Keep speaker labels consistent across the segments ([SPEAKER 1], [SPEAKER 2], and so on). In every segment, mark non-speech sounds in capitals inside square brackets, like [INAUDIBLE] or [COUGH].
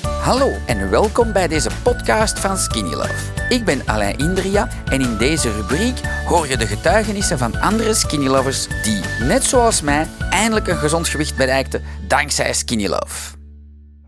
[SPEAKER 1] Hallo en welkom bij deze podcast van Skinny Love. Ik ben Alain Indria en in deze rubriek hoor je de getuigenissen van andere Skinny Lovers die, net zoals mij, eindelijk een gezond gewicht bereikten dankzij Skinny Love.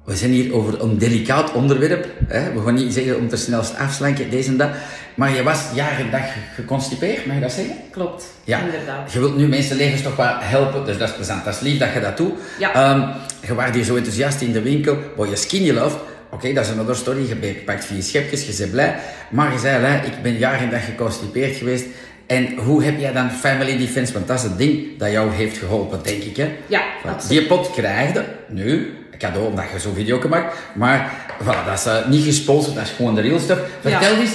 [SPEAKER 1] We zijn hier over een delicaat onderwerp. Hè? We gaan niet zeggen om te snelst afslanken, deze en dat. Maar je was jaar en dag geconstipeerd, mag je dat zeggen?
[SPEAKER 2] Klopt,
[SPEAKER 1] Ja,
[SPEAKER 2] inderdaad.
[SPEAKER 1] je wilt nu mensenlevens toch wel helpen, dus dat is plezant. Dat is lief dat je dat doet.
[SPEAKER 2] Ja.
[SPEAKER 1] Ehm, je was hier zo enthousiast in de winkel, waar je skinny loopt. Oké, dat is een andere story. Je bent- pakt vier schepjes, je bent blij. Maar je zei, hè, ik ben jaar en dag geconstipeerd geweest. En hoe heb jij dan family defense? Want dat is het ding dat jou heeft geholpen, denk ik. Hè?
[SPEAKER 2] Ja,
[SPEAKER 1] Voilà.
[SPEAKER 2] absoluut.
[SPEAKER 1] Die pot krijg je nu, een cadeau omdat je zo'n video maakt. Maar voilà, dat is eh, niet gesponsord, dat is gewoon de real stuff. Vertel eens,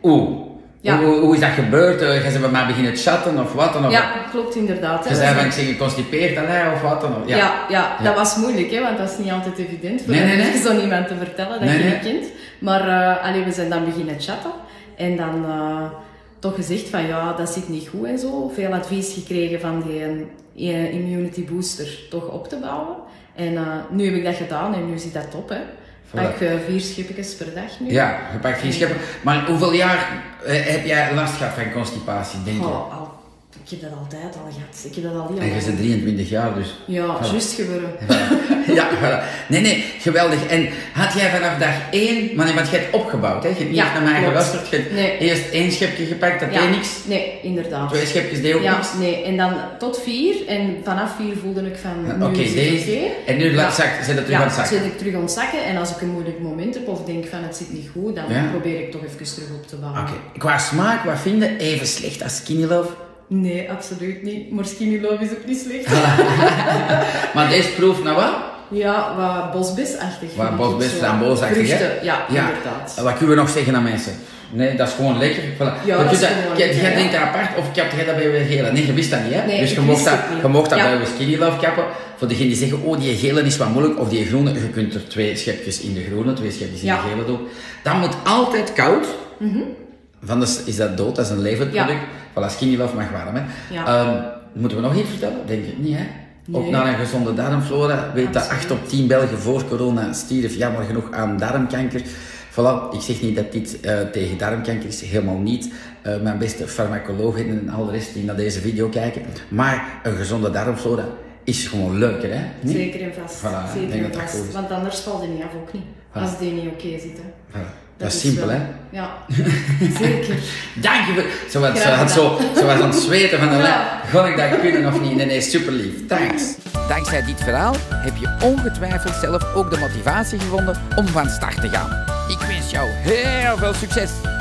[SPEAKER 1] hoe?
[SPEAKER 2] Ja.
[SPEAKER 1] Hoe, hoe is dat gebeurd? Eh, Gaan ze bij mij beginnen chatten of wat dan ook?
[SPEAKER 2] Ja, klopt inderdaad. hè.
[SPEAKER 1] Ze zei van, ik ben geconstipeerd dan, hè, of wat dan ook.
[SPEAKER 2] ja. Ja,
[SPEAKER 1] Ja.
[SPEAKER 2] dat was moeilijk, hè, want dat is niet altijd evident voor
[SPEAKER 1] Nee, nee, nee.
[SPEAKER 2] even zo'n iemand te vertellen dat
[SPEAKER 1] Nee,
[SPEAKER 2] je
[SPEAKER 1] nee.
[SPEAKER 2] niet kent. Maar eh, allee, we zijn dan beginnen chatten en dan eh, toch gezegd van ja, dat zit niet goed en zo. Veel advies gekregen van die, eh, immunity booster toch op te bouwen. En eh, nu heb ik dat gedaan en nu zit dat top. Hè.
[SPEAKER 1] Voilà.
[SPEAKER 2] Pak eh, vier schipjes per dag nu.
[SPEAKER 1] Ja, je pakt geen scheppen. Maar hoeveel jaar eh, heb jij last gehad van constipatie, denk je?
[SPEAKER 2] Oh, al- ik heb dat altijd al gehad. Ik heb dat al die
[SPEAKER 1] En je bent 23 jaar, dus...
[SPEAKER 2] Ja,
[SPEAKER 1] Voilà.
[SPEAKER 2] juist gebeuren.
[SPEAKER 1] [LAUGHS] ja, voilà. Nee, nee, geweldig. En had jij vanaf dag één... Maar nee, want jij hebt opgebouwd, hè? Je hebt niet
[SPEAKER 2] Ja,
[SPEAKER 1] echt naar mij
[SPEAKER 2] klopt.
[SPEAKER 1] geluisterd. Je hebt
[SPEAKER 2] Nee.
[SPEAKER 1] eerst één schepje gepakt, dat
[SPEAKER 2] Ja.
[SPEAKER 1] deed niks.
[SPEAKER 2] Nee, inderdaad.
[SPEAKER 1] Twee schepjes deed ook
[SPEAKER 2] Ja,
[SPEAKER 1] niks.
[SPEAKER 2] nee. En dan tot vier. En vanaf vier voelde ik van,
[SPEAKER 1] Ja,
[SPEAKER 2] nu
[SPEAKER 1] Oké,
[SPEAKER 2] is het
[SPEAKER 1] deze.
[SPEAKER 2] oké.
[SPEAKER 1] En nu laat
[SPEAKER 2] Ja.
[SPEAKER 1] zak, zet het terug
[SPEAKER 2] Ja,
[SPEAKER 1] aan het zakken.
[SPEAKER 2] zit ik terug aan het zakken. En als ik een moeilijk moment heb of denk van het zit niet goed, dan
[SPEAKER 1] Ja.
[SPEAKER 2] probeer ik toch even terug op te bouwen.
[SPEAKER 1] Oké, qua smaak, wat vinden? Even slecht als Skinny Love?
[SPEAKER 2] Nee, absoluut niet. Maar skinny love is ook niet slecht.
[SPEAKER 1] Ah. Maar deze proeft naar wat?
[SPEAKER 2] ja, wat bosbesachtig.
[SPEAKER 1] Waar
[SPEAKER 2] vind ik
[SPEAKER 1] bosbes,
[SPEAKER 2] nou zo.
[SPEAKER 1] framboosachtig, hè? Oh,
[SPEAKER 2] Vruchten, ja, inderdaad.
[SPEAKER 1] Wat kunnen we nog zeggen aan mensen? Nee, dat is gewoon lekker. Voilà.
[SPEAKER 2] Ja,
[SPEAKER 1] Want
[SPEAKER 2] dat
[SPEAKER 1] je
[SPEAKER 2] is gewoon
[SPEAKER 1] jij-
[SPEAKER 2] lekker,
[SPEAKER 1] Jij
[SPEAKER 2] hè?
[SPEAKER 1] denkt dat apart, of kapt jij dat bij weer gele? Nee, je wist dat niet, hè?
[SPEAKER 2] Nee,
[SPEAKER 1] dus
[SPEAKER 2] ik
[SPEAKER 1] je mocht
[SPEAKER 2] wist
[SPEAKER 1] dat,
[SPEAKER 2] het niet.
[SPEAKER 1] je mocht dat
[SPEAKER 2] Ja.
[SPEAKER 1] bij je skinny love kappen. Voor degenen die zeggen, oh, die gele is wat moeilijk, of die groene, je kunt er twee schepjes in de groene, twee schepjes in
[SPEAKER 2] Ja. Mhm.
[SPEAKER 1] de gele doen. Dat moet altijd koud. Van de, is dat dood, dat is een levend
[SPEAKER 2] Ja.
[SPEAKER 1] product. Voilà, skinny love mag warm, hè?
[SPEAKER 2] Ja.
[SPEAKER 1] Ehm, moeten we nog iets vertellen? Denk ik niet, hè? Ook
[SPEAKER 2] Nee.
[SPEAKER 1] naar een gezonde darmflora, weet dat 8 op 10 Belgen voor corona stierf jammer genoeg aan darmkanker. Voilà, ik zeg niet dat dit eh, tegen darmkanker is, helemaal niet. Eh, mijn beste farmacologen en al de rest die naar deze video kijken. Maar een gezonde darmflora is gewoon leuker, hè? Niet?
[SPEAKER 2] Zeker en vast.
[SPEAKER 1] Voilà, ik denk
[SPEAKER 2] Zeker
[SPEAKER 1] dat
[SPEAKER 2] en
[SPEAKER 1] dat goed
[SPEAKER 2] vast.
[SPEAKER 1] is.
[SPEAKER 2] Want anders valt die niet af, ook niet. Als die niet oké zit, hè.
[SPEAKER 1] Voilà. Dat, is
[SPEAKER 2] is
[SPEAKER 1] simpel,
[SPEAKER 2] wel-
[SPEAKER 1] hè?
[SPEAKER 2] Ja, [LAUGHS] zeker.
[SPEAKER 1] Dankjewel. Ze was, ze
[SPEAKER 2] Graag
[SPEAKER 1] had zo, ze was aan het zweten van de
[SPEAKER 2] Ja.
[SPEAKER 1] lijn. Gon ik dat kunnen of niet? Nee, nee, super lief. Thanks. Dankzij dit verhaal heb je ongetwijfeld zelf ook de motivatie gevonden om van start te gaan. Ik wens jou heel veel succes.